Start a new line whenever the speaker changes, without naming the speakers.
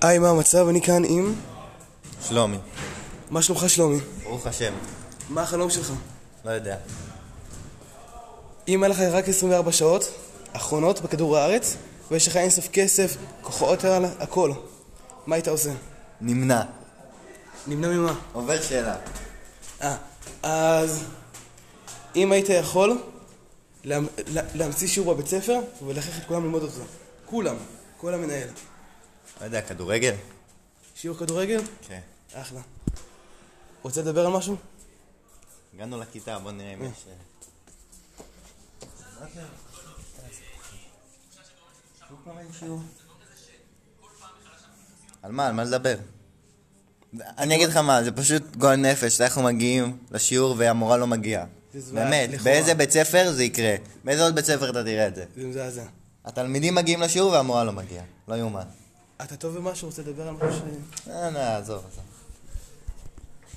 היי, מה המצב? אני כאן עם...
שלומי,
מה שלומך, שלומי?
ברוך השם,
מה החלום שלך?
לא יודע.
אם היה לך רק 24 שעות אחרונות בכדור הארץ, ויש לך אינסוף כסף, כוחות על הכל, מה היית עושה?
נמנע.
נמנע ממה?
עובר שאלה.
אה, אז אם היית יכול לה, לה, להמציא שיעור בבית ספר ולהכריח את כולם ללמוד אותו. כולם, כל המנהל.
לא יודע, כדורגל?
שיעור כדורגל?
כן.
אחלה. רוצה לדבר על משהו?
הגענו לכיתה, בוא נראה אם יש... אה,
לא,
על מה? על מה לדבר? אני אגיד לך מה, זה פשוט גועל נפש, אנחנו מגיעים לשיעור והמורה לא מגיעה.
זה זוועה,
באמת,
לכאורה.
באיזה בית ספר זה יקרה? באיזה עוד בית ספר אתה תראה את זה?
זה מזעזע.
התלמידים מגיעים לשיעור והמורה לא מגיעה. לא יאומן.
אתה טוב במשהו? רוצה לדבר על משהו? ש-
אה, נה, עזוב, עזוב.